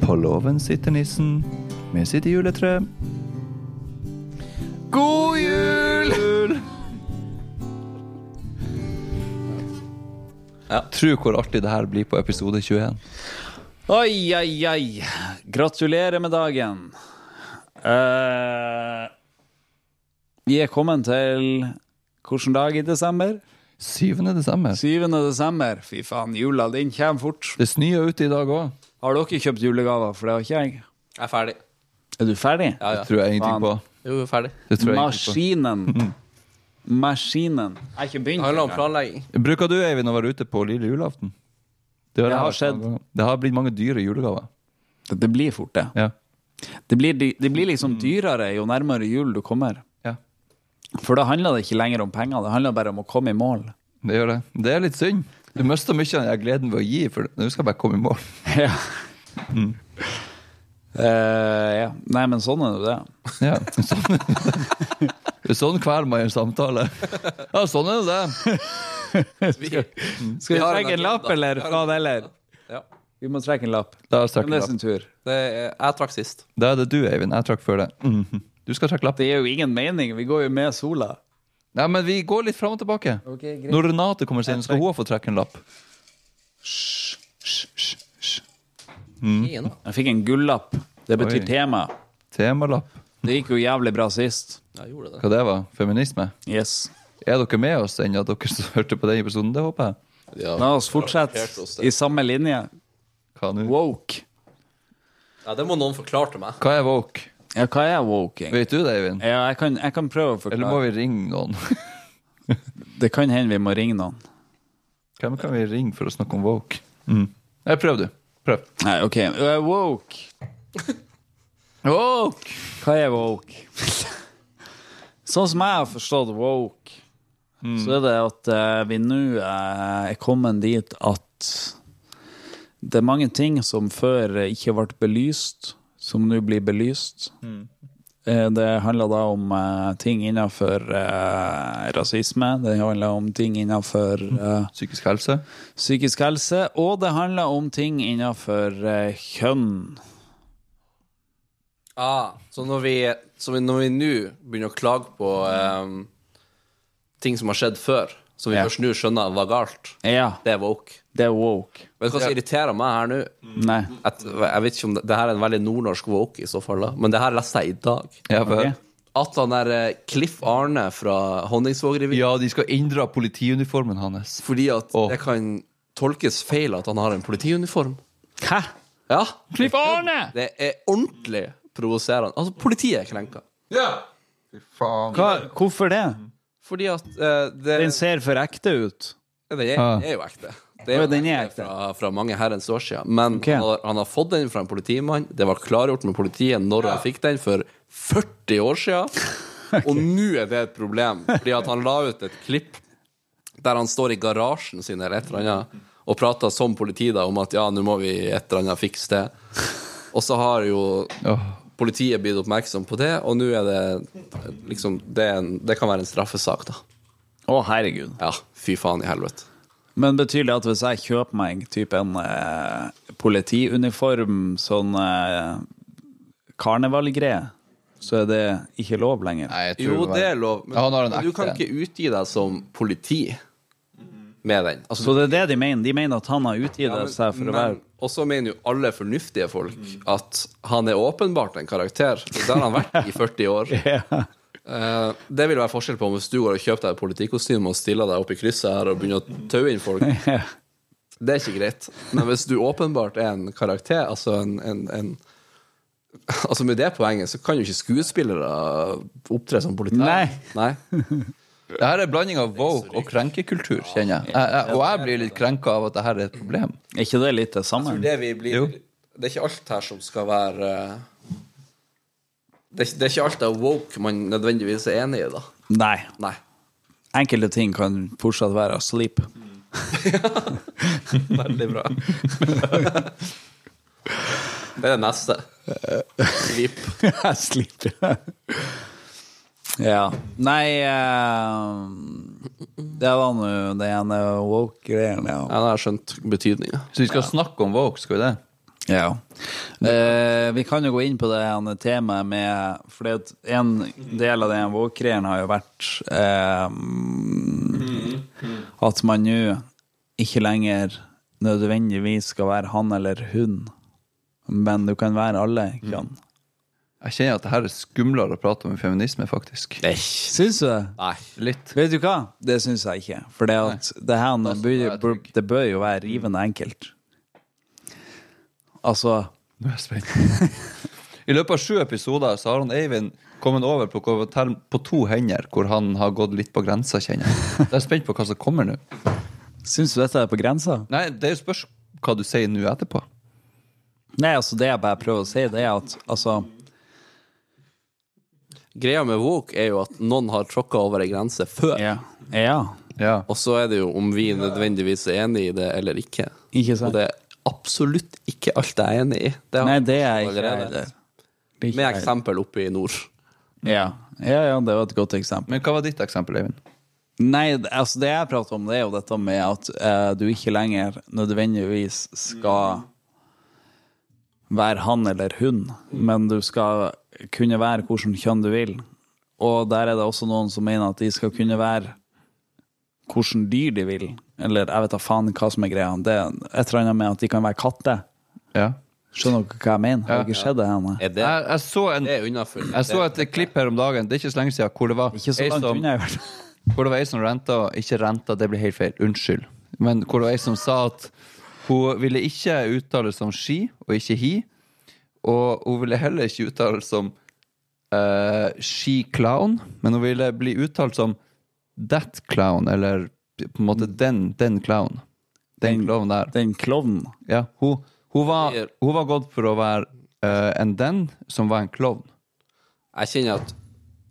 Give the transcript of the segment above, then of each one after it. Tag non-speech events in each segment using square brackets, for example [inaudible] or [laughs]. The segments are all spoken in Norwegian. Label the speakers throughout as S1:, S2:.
S1: På låven sitter nissen med sitt juletre.
S2: God jul!
S1: Ja. Tro hvor artig det her blir på episode 21.
S2: Oi, oi, oi. Gratulerer med dagen. Eh, vi er kommet til hvilken dag i desember?
S1: 7. desember.
S2: 7. desember. Fy faen, jula din kommer fort.
S1: Det snør ute i dag òg.
S2: Har dere kjøpt julegaver? For det har ikke jeg.
S3: Jeg er ferdig.
S2: Er du ferdig?
S3: Ja, ja.
S1: Det tror jeg ingenting på.
S3: Jo, jeg er ferdig.
S1: Det tror jeg ingenting
S2: Maskinen. Maskinen. Jeg har ikke
S3: Det
S2: begynt.
S3: handler om
S2: engang.
S3: planlegging.
S1: på. Bruker du, Eivind, å være ute på lille julaften? Det
S2: Det har
S1: jeg hørt mange
S2: skjedd.
S1: ganger. Det har blitt mange dyre julegaver.
S2: Det- Det blir fort, det.
S1: Ja.
S2: Det blir, det blir liksom dyrere jo nærmere jul du kommer.
S1: ja.
S2: For da handler det ikke lenger om penger, det handler bare om å komme i mål.
S1: Det gjør det. Det er litt synd. Du mister mye av den her gleden ved å gi, for nå skal jeg bare komme i mål.
S2: Ja. Mm. Eh, ja. Nei, men sånn er det jo det.
S1: Ja, sånn, [laughs] sånn kveler man i en samtale. Ja, sånn er det.
S3: Vi,
S2: Skal vi
S3: har
S2: trekke
S3: en
S2: en lapp,
S3: agenda.
S2: eller? Faen heller.
S3: ja.
S2: Vi må trekke en lapp.
S1: Da har jeg trekket
S2: Men det er
S1: lapp.
S2: sin tur.
S3: det er, jeg trakk sist.
S1: Da er det du, Eivind. Jeg trakk før det. Mhm. Du skal trekke lapp.
S2: Det gir jo ingen mening, vi går jo med sola.
S1: Nei, men vi går litt fram og tilbake. Når Renate kommer seg inn, skal hun få trekke en lapp.
S3: Gi nå.
S2: Jeg fikk en gullapp. Det betyr
S1: Oi.
S2: tema.
S1: Temalapp.
S2: Det gikk jo jævlig bra sist.
S3: Jeg gjorde det.
S1: Hva det var? Feminisme?
S2: Yes.
S1: Er dere med oss ennå, dere som [laughs] hørte på den episoden? Det håper jeg.
S2: La oss fortsette i samme linje.
S1: Hva, nå?
S2: Woke.
S3: Ja, det må noen forklare til meg.
S1: Hva er woke?
S2: Ja, hva er woking?
S1: Vet du det, Eivind?
S2: Ja, jeg kan, jeg kan prøve å
S1: Eller må
S2: forklare.
S1: vi ringe noen? [laughs]
S2: Det kan hende vi må ringe noen.
S1: Hvem kan vi ringe for å snakke om woke? Mm. Nei, prøv, du. Prøv.
S2: Nei, OK. Eh, woke.
S1: Woke!
S2: Hva er woke? sånn som jeg har forstått woke, så er det at eh, vi nå eh, er kommet dit at det er mange ting som før eh, ikke ble belyst, som nå blir belyst. Eh, Det handler da om eh, ting innenfor eh, rasisme, det handler om ting innenfor eh,
S1: Psykisk helse.
S2: psykisk helse, og det handler om ting innenfor eh, kjønn.
S3: Ah, så når vi så vi- når vi nå begynner å klage på ehm, ting som har skjedd før, som vi
S2: Ja.
S3: først nå skjønner var galt,
S2: Ja,
S3: det er woke.
S2: det er woke.
S3: Vet du hva som irriterer meg her nå?
S2: Nei.
S3: At, jeg vet ikke om det, det her er en veldig nordnorsk woke i så fall, da. men det her leste jeg i dag.
S1: Ja, for...
S2: Ok.
S3: At han der eh, Cliff Arne fra Honningsvågrevyen
S1: Ja, de skal inndra politiuniformen hans.
S3: Fordi at
S1: Åh.
S3: det kan tolkes feil at han har en politiuniform.
S2: Hæ?
S3: Ja,
S2: Cliff Arne!
S3: Det er ordentlig provoserende. Altså, politiet er krenka.
S2: Hva, hvorfor det?
S3: Fordi at eh, det,
S2: Den ser for ekte ut.
S3: det er,
S1: Ah.
S3: er jo ekte. Det
S2: Åh, den er ekte.
S3: Fra, fra mange herrens år siden. Men
S2: Ok.
S3: han, har, han har fått den fra en politimann. Det var klargjort med politiet når han fikk den, for 40 år
S2: [laughs]
S3: siden. Og nå er det et problem, fordi at han la ut et klipp der han står i garasjen sin eller et eller annet, og prater som politi da om at ja, nå må vi et eller annet fikse det. Og så har jo
S1: Åh.
S3: politiet blitt oppmerksom på det, og nå er det liksom Det, er en, det kan være en straffesak, da.
S2: Å, herregud.
S3: Ja, fy faen i helvete.
S2: Men betyr det at hvis jeg kjøper meg typ en eh, politiuniform, sånn eh, karnevalgreie, så er det ikke lov lenger?
S1: Nei, jeg tror
S3: Jo,
S1: var-
S3: det er lov, men,
S1: Ja, han har en
S3: men du
S1: ekte
S3: kan
S1: en.
S3: ikke utgi deg som politi med den. Altså,
S2: Så det er det de mener? De mener at han har utgitt seg for å være
S3: og så mener jo alle fornuftige folk at han er åpenbart en karakter. Det har han
S1: [laughs]
S3: vært i 40 år.
S2: [laughs] Ja.
S3: Eh, det vil være forskjell på om hvis du går og kjøper deg et politikostyme og stiller deg opp i krysset her og begynner å taue inn folk. Det er ikke greit. Men hvis du åpenbart er en karakter, altså en, en, en Altså Med det poenget så kan jo ikke skuespillere opptre som politi.
S2: Nei.
S3: Nei.
S1: Det her er en blanding av woke og krenkekultur, kjenner jeg. jeg, jeg og jeg blir litt krenka av at det her er et problem.
S2: Er ikke det litt det samme?
S3: Det, vi blir,
S1: Jo.
S3: det er ikke alt her som skal være eh, det, er ikke- det er ikke alt av woke man nødvendigvis er enig i, da.
S2: Nei.
S3: Nei.
S2: Enkelte ting kan fortsatt være [laughs] sleep.
S3: Veldig bra. [laughs] det er det neste. Sleep.
S2: Jeg sliter. ja. Nei eh, Det var nå det ene woke-greien, ja.
S3: Ja, da har jeg skjønt betydninga.
S1: Så vi skal snakke om woke, skal vi det?
S2: Ja. Eh, vi kan jo gå inn på det her temaet med For det at en del av den vågkreien har jo vært eh, at man nå ikke lenger nødvendigvis skal være han eller hun, men du kan være alle kjønn.
S1: Jeg kjenner at det her er skumlere å prate om enn feminisme, faktisk.
S3: Nei.
S2: Syns du det?
S1: Litt.
S2: Vet du hva? Det syns jeg ikke. For det, at det her nå bør,
S1: jeg
S2: bør, det bør jo være rivende enkelt. Altså
S1: Nå er jeg spent. [laughs] I løpet av sju episoder så har han Eivind kommet over på, hvor- term- på to hender, hvor han har gått litt på grensa, kjenner jeg. Jeg er spent på hva som kommer nå.
S2: Syns du dette er på grensa?
S1: Nei, det er jo spørs hva du sier nå etterpå.
S2: Nei, altså det jeg bare prøver å si, det er at altså
S3: Greia med woke er jo at noen har tråkka over ei grense før.
S2: Ja. ja.
S1: Ja.
S3: Og så er det jo om vi nødvendigvis er enig i det eller ikke.
S2: Ikke
S3: Og
S2: sant?
S3: det er absolutt ikke alt jeg er enig i. Det har
S2: Nei, det er jeg ikke
S3: allerede.
S2: heller. Det er ikke
S3: Med
S2: jeg.
S3: eksempel oppe i nord.
S2: Ja. ja, ja, det var et godt eksempel.
S1: Men hva var ditt eksempel, Eivind?
S2: Nei, det- altså det jeg prater om, det er jo dette med at eh, du ikke lenger nødvendigvis skal være han eller hun, men du skal kunne være hvilket kjønn du vil. Og der er det også noen som mener at de skal kunne være hvilket dyr de vil. Eller jeg vet da faen hva som er greia. Det er et eller annet med at de kan være katter.
S1: Ja.
S2: Skjønner dere hva jeg mener? Har dere sett det her? nei?
S3: Er det,
S1: Jeg, jeg så en
S3: det er unnafor.
S1: jeg så et klipp her om dagen, det er ikke så lenge siden, hvor det var
S2: Ikke så
S1: ei
S2: langt
S1: som-
S2: unna, i hvert fall.
S1: Hvor det var ei som renta Ikke renta, det blir helt feil. Unnskyld. Men hvor det var ei som sa at hun ville ikke uttale som she og ikke he. Og hun ville heller ikke uttale som eh, she clown, men hun ville bli uttalt som that clown, eller på en måte den, den clown. Den
S2: Den-
S1: clown der.
S2: Den klovnen.
S1: Ja, hun, hun, var, hun var gått for å være eh, en den som var en klovn.
S3: Jeg kjenner at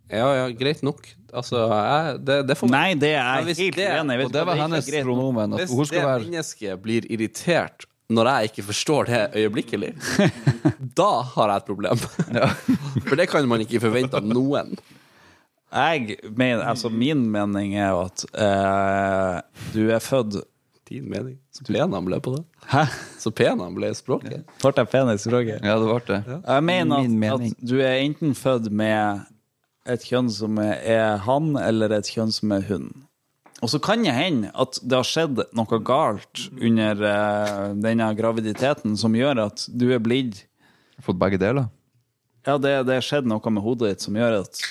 S3: Ja, ja, greit nok. Altså, jeg, det, det får
S2: Nei, det
S3: Ja,
S2: er
S3: hvis
S2: jeg helt
S3: det-
S2: uenig i.
S1: Og det var hennes pronomen. At
S3: Hvis
S1: hun
S3: det
S1: skulle være
S3: mennesket blir irritert når jeg ikke forstår det
S2: [laughs]
S3: øyeblikkelig, da har jeg et problem. [laughs] For det kan man ikke forvente av noen.
S2: Jeg mener, altså Min mening er jo at eh, du er født
S3: Din mening. Så pen han ble på det.
S2: Hæ?
S3: Så pen han ble i språket.
S2: Ble jeg pen i språket?
S1: Ja, det ble det.
S2: Jeg mener
S1: Min
S2: at,
S1: mening.
S2: at du er enten født med et kjønn som er han, eller et kjønn som er hun. Og så kan det hende at det har skjedd noe galt under eh, denne graviditeten som gjør at du er blitt
S1: Fått begge deler.
S2: Ja, det det har skjedd noe med hodet ditt som gjør at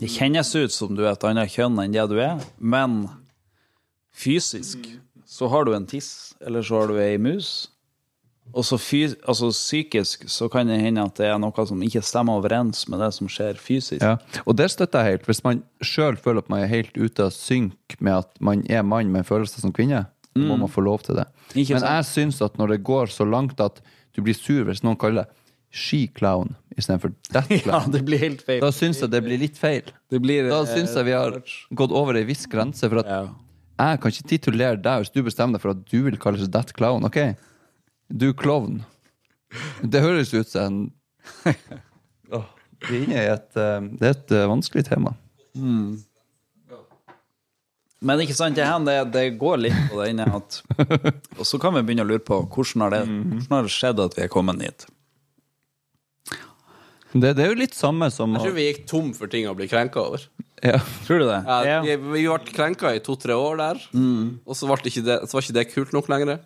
S2: det kjennes ut som du er et annet kjønn enn det du er, men fysisk så har du en tiss, eller så har du ei mus. Og så fys altså psykisk så kan det hende at det er noe som ikke stemmer overens med det som skjer fysisk.
S1: Ja, og det støtter jeg helt. Hvis man sjøl føler at man er helt ute av synk med at man er mann med følelser som kvinne, så må man få lov til det.
S2: Mm. Ikke
S1: Men jeg syns at når det går så langt at du blir sur hvis noen kaller deg she-clown istedenfor that
S2: [laughs] [laughs] Ja,
S1: clown,
S2: det blir helt feil.
S1: da syns jeg det blir litt feil.
S2: Det blir, eh,
S1: Da syns jeg vi har gått over ei viss grense. For at
S2: ja.
S1: jeg kan ikke titulere deg hvis du bestemmer deg for at du vil kalles that clown. OK? Du klovn. Det høres ut som en
S2: [laughs]
S1: Åh, Vi er inne i et eh, Det er et eh, vanskelig tema.
S2: Men ikke sant, det, her, det, det går litt på det inne
S1: [laughs]
S2: at Og så kan vi begynne å lure på hvordan har det,
S1: Mhm.
S2: hvordan har det skjedd at vi er kommet dit.
S1: Det, det er jo litt samme som
S3: Jeg tror vi gikk tom for ting å bli krenka over.
S1: ja.
S2: Tror du det?
S3: Ja, vi, vi ble krenka i to-tre år der,
S2: Mm.
S3: og så, ble ikke det, så var ikke det kult nok lenger.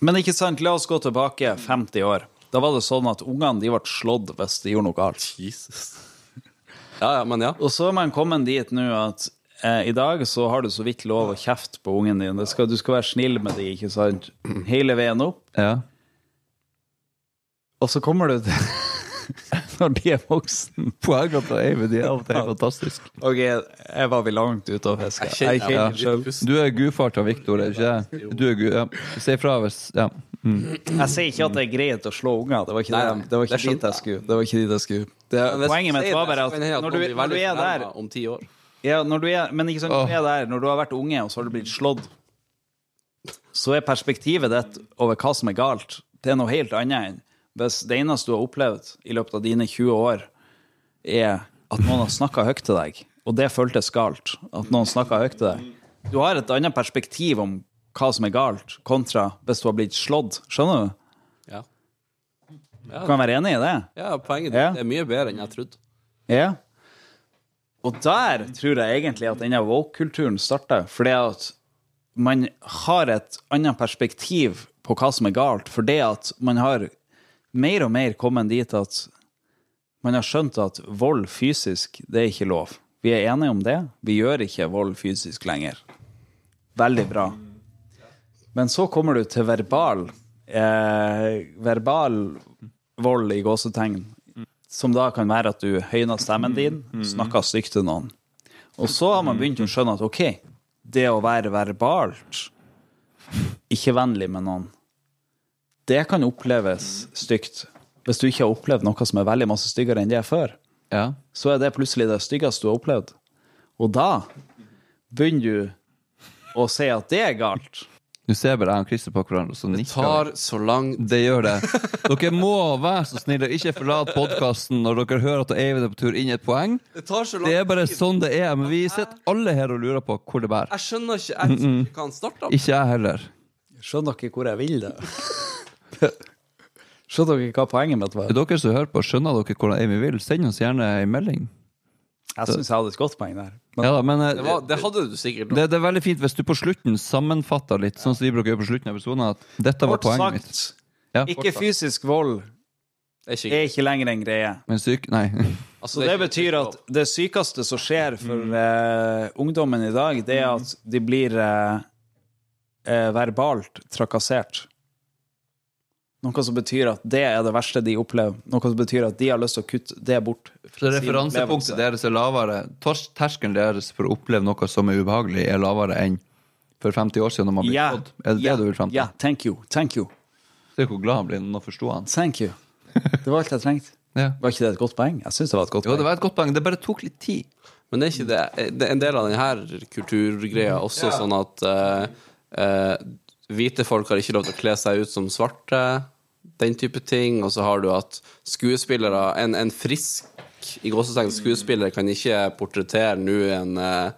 S2: Men ikke sant, la oss gå tilbake 50 år. Da var det sånn at ungene de ble slått hvis de gjorde noe galt.
S3: Jesus. Ja, ja, men ja.
S2: Og så er man kommet dit nå at eh, i dag så har du så vidt lov å kjefte på ungen din. Det skal, du skal være snill med dem, ikke sant? Hele veien opp.
S1: ja. [laughs]
S2: Og så kommer du til [laughs] Når de er voksen.
S1: Poengene til Eivind de er av og til helt fantastisk.
S2: Ok, jeg var vel langt ute og fiska.
S3: Jeg kjenner-
S2: Jeg kjenner
S3: ja.
S2: selv.
S1: Du er gudfar til Viktor, er du ikke det? Du er gud, ja. Si ifra hvis ja.
S2: Jeg sier ikke at det er greit å slå unger. Det var ikke,
S3: Nei,
S2: det, det var
S3: det
S2: ikke dit
S3: skjønte
S2: jeg skulle. Det var ikke dit jeg skulle. Det,
S3: Men hvis
S2: poenget
S3: du
S2: mitt
S3: sier
S2: var
S3: det,
S2: bare
S3: så
S2: at
S3: kan det hende
S2: når
S3: noen
S2: du,
S3: blir
S2: når du
S3: veldig
S2: er der
S3: fornærmet om ti år.
S2: Ja, når du er, men ikke sant, når du er der, når du har vært unge, og så har du blitt slått, så er perspektivet ditt over hva som er galt, det er noe helt annet enn hvis det eneste du har opplevd i løpet av dine 20 år, er at noen har snakka høyt til deg, og det føltes galt. At noen snakka høyt til deg. Du har et annet perspektiv om hva som er galt, kontra hvis du har blitt slått. Skjønner du?
S3: Ja.
S2: Du kan være enig i det?
S3: Ja, poenget
S2: Ja.
S3: ditt er mye bedre enn jeg trodde.
S2: Ja. Og der tror jeg egentlig at denne woke-kulturen starter. Fordi at man har et annet perspektiv på hva som er galt. Fordi at man har mer og mer kommet dit at man har skjønt at vold fysisk, det er ikke lov. Vi er enige om det. Vi gjør ikke vold fysisk lenger. Veldig bra. Men så kommer du til verbal eh, verbal vold i gåsetegn, som da kan være at du høyner
S1: Mm,
S2: stemmen din, snakker stygt til noen. Og så har man begynt å skjønne at ok, det å være verbalt ikke vennlig med noen, det kan oppleves stygt. Hvis du ikke har opplevd noe som er veldig masse styggere enn det før,
S1: Ja.
S2: så er det plutselig det styggeste du har opplevd. Og da begynner du å si at det er galt.
S1: Nå ser jeg bare jeg og Christer på hverandre, og så nikker vi.
S3: Tar så lang
S1: Det gjør det. Dere må være så snille og ikke forlate podkasten når dere hører at Eivind er på tur inn i et poeng.
S3: Det tar så lang
S1: Det er bare sånn det er. Men vi sitter alle her og lurer på hvor det bærer.
S3: Jeg skjønner ikke jeg skjønner ikke hva han starta med.
S1: Ikke jeg heller.
S2: Skjønner dere hvor jeg vil
S1: [laughs]
S2: det? Skjønner dere hva poenget mitt var?
S1: Dere som hører på, skjønner dere hvordan Eivind vil? Send oss gjerne ei melding.
S2: Jeg syns jeg hadde et godt poeng der. Men
S1: Ja da, men eh,
S3: Det, var- det hadde du sikkert.
S1: det, det er veldig fint hvis du på slutten sammenfatter litt, sånn som vi bruker å gjøre på slutten av episoden, at dette var
S2: kort
S1: poenget mitt.
S2: sagt,
S1: Ja.
S2: ikke fysisk vold
S3: Det er ikke,
S2: er ikke lenger en greie.
S1: Men syk Nei.
S3: altså,
S2: Så
S3: er
S2: det
S3: ikke-
S2: betyr at det sykeste som skjer for
S1: Mm.
S2: eh, ungdommen i dag, det er at de blir eh, eh, verbalt trakassert. Noe som betyr at det er det verste de opplever. Noe som betyr at de har lyst til å kutte det bort.
S1: Så referansepunktet deres er lavere. Tors- Terskelen deres for å oppleve noe som er ubehagelig, er lavere enn for 50 år siden når man ble
S2: Ja,
S1: fått. Er det
S2: ja,
S1: det du vil fram til?
S2: Ja. Thank you. Thank you.
S1: Se hvor glad han blir når han forsto han. [laughs]
S2: Thank you. Det var alt jeg trengte.
S1: Ja.
S2: Var ikke det et godt poeng? Jeg syns det var et godt
S1: Jo, det
S2: poeng.
S1: var et godt poeng. Det bare tok litt tid.
S3: Men det er ikke det. det er en del av denne kulturgreia også sånn at eh, eh, hvite folk har ikke lov til å kle seg ut som svarte. Den type ting. Og så har du at skuespillere En, en frisk i gåsetegn skuespiller kan ikke portrettere nå en, eh,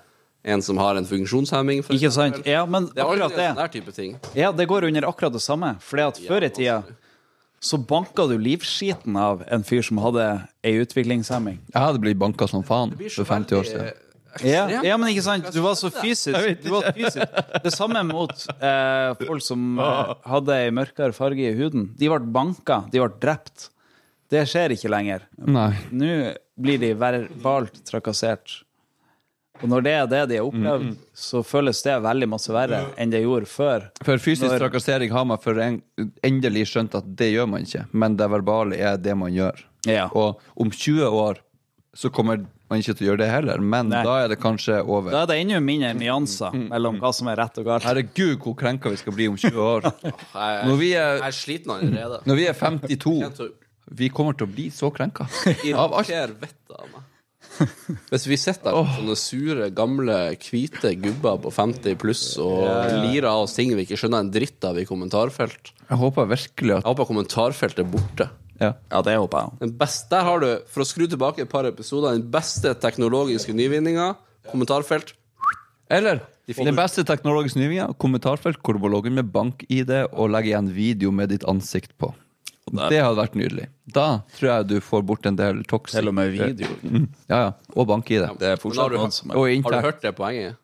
S3: en som har en funksjonshemming. For
S2: Ikke sant? Ja, men
S3: Det er alltid
S2: akkurat det.
S3: en sånn der type ting.
S2: Ja, det går under akkurat det samme. Fordi at før i tida så banka du livskiten av en fyr som hadde ei utviklingshemming.
S1: Jeg hadde blitt banka som faen for 50 år siden.
S2: Ja, ja, men ikke sant? Du var så fysisk. Du var fysisk. Det samme mot eh, folk som eh, hadde ei mørkere farge i huden. De ble banka, de ble drept. Det skjer ikke lenger.
S1: Nei.
S2: Nå blir de verbalt trakassert. Og når det er det de har opplevd, så føles det veldig masse verre enn det gjorde før.
S1: For fysisk
S2: Når-
S1: trakassering har man for en, endelig skjønt at det gjør man ikke, men det verbale er det man gjør.
S2: Ja.
S1: Og om 20 år så kommer man ikke til å gjøre det heller, men
S2: Nei.
S1: da er det kanskje over.
S2: Da er det enda mindre nyanser mellom hva som er rett og galt.
S1: Herregud, hvor krenka vi skal bli om 20
S2: [laughs]
S1: år.
S3: Jeg,
S1: Når vi
S3: jeg
S1: er,
S3: er sliten allerede.
S1: når vi er 52 Vi kommer til å bli så krenka. Av alt.
S3: Irriterer vettet av meg. Hvis vi sitter der som sånne sure, gamle, hvite gubber på 50 pluss og lirer av oss ting vi ikke skjønner en dritt av i kommentarfelt Jeg
S1: Jeg håper virkelig at
S3: håper kommentarfeltet er borte.
S1: ja.
S2: Ja, det håper jeg.
S3: Den beste, der har du, for å skru tilbake et par episoder, den beste teknologiske nyvinninga. Kommentarfelt.
S1: Eller den beste teknologiske nyvinga, kommentarfelt hvor du må logge inn med bank-ID og legge igjen video med ditt ansikt på. Det hadde vært nydelig. Da tror jeg du får bort en del toxic
S2: Til og med video.
S1: Ja, ja. Og bank-ID.
S2: Det er fortsatt noen som er Mm,
S1: Og
S3: Har du
S1: inntekt.
S3: hørt det poenget?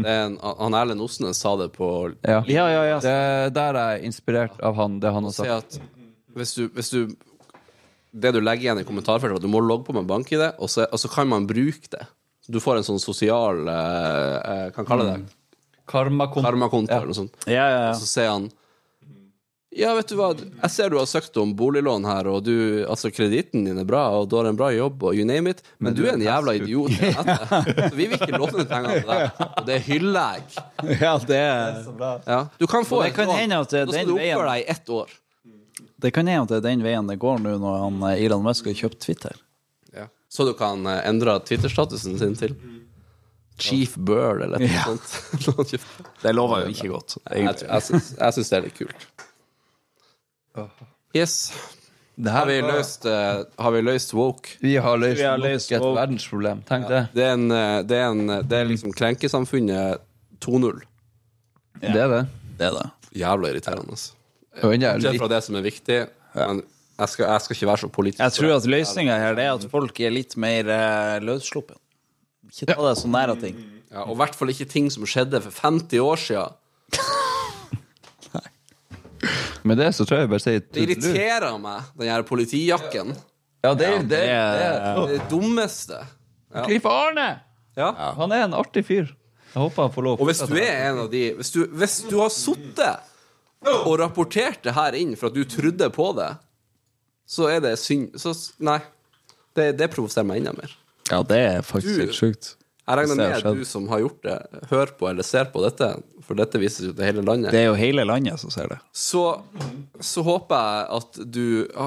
S3: Det er en, han Erlend Osnes sa det på
S1: Ja.
S2: Ja, ja, ja.
S1: Det, der er jeg inspirert av han, det han har
S3: si
S1: sagt.
S3: at hvis du, hvis du Det du legger igjen i kommentarfeltet, er at du må logge på med bank-ID, og, så- og så kan man bruke det. Du får en sånn sosial eh, eh, Kan kalle det
S1: Karmakon...
S3: karmakonto eller noe sånt.
S2: Mm. ja, ja,
S3: Og
S2: ja.
S3: så sier han Ja, vet du hva, jeg ser du har søkt om boliglån her, og du Altså, kreditten din er bra, og du har en bra jobb, og you name it, men, du er en jævla idiot.
S2: [laughs]
S3: Så vi vil ikke låne pengene til deg. Og det hyller jeg.
S2: ja det, er-
S3: Ja. Du kan få
S2: Og det
S3: et
S2: kan
S3: lån.
S2: hende at det er
S3: Da skal
S2: den
S3: du
S2: veien.
S3: oppføre deg i ett år.
S2: det kan hende at det er den veien det går nå når han, eh, Elon Musk har kjøpt Twitter.
S3: Så du kan eh, endre Twitter-statusen sin til Chief Bird eller noe
S2: Ja.
S3: [laughs] sånt.
S2: Det lover jo ikke godt.
S3: jeg tror- jeg syns jeg syns det er litt kult. Yes. Har vi løst, eh, har vi løst woke?
S1: Vi har
S2: Vi har
S1: løst
S2: løst
S1: nok et
S2: og-
S1: verdensproblem. Tenk det.
S3: Det er, en, eh, det er, en, eh, det er liksom krenkesamfunnet 2-0.
S1: Det er det.
S2: Det er det.
S3: Jævla irriterende. Altså.
S1: Og ennå er
S3: Bortsett
S1: litt
S3: fra det som er viktig. Men Jeg skal, jeg skal ikke være så politisk.
S2: Jeg tror at løsninga her det er at folk er litt mer eh, løssluppen. Ikke ta deg så nær av ting.
S3: ja, og i hvert fall ikke ting som skjedde for 50 år siden.
S1: Med det så tror jeg jeg bare sier
S3: Det
S1: tudelut.
S3: irriterer meg, den her politijakken.
S1: Ja, det, det,
S2: det er-
S3: Det er det dummeste. Ja.
S1: Griff Arne!
S3: Eh, Ja.
S1: Han er en artig fyr. Jeg håper han får lov.
S3: Og hvis du er en av de Hvis du, hvis du har sittet og rapportert det her inn for at du trodde på det, så er det synd Så s- nei. Det, det provoserer meg enda mer.
S2: Ja, det er faktisk
S3: helt
S2: sjukt.
S3: Jeg regner
S2: Det har
S3: med at
S2: skjedd.
S3: du som har gjort det, hører på eller ser på dette, for dette vises jo til hele landet.
S2: Det er jo hele landet som ser det.
S3: Så, så håper jeg at du ja,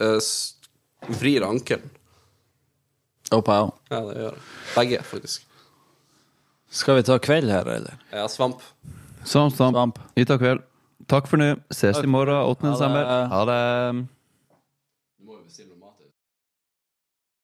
S3: eh, s- vrir ankelen. Ja, det gjør jeg. Begge, faktisk.
S2: Skal vi ta kveld her, eller?
S3: Ja, svamp.
S1: Sånn, sånn.
S2: Svamp.
S1: I takk vel. Takk for nå. Ses i morgen 8.
S2: Ha det.
S1: desember. Ha det.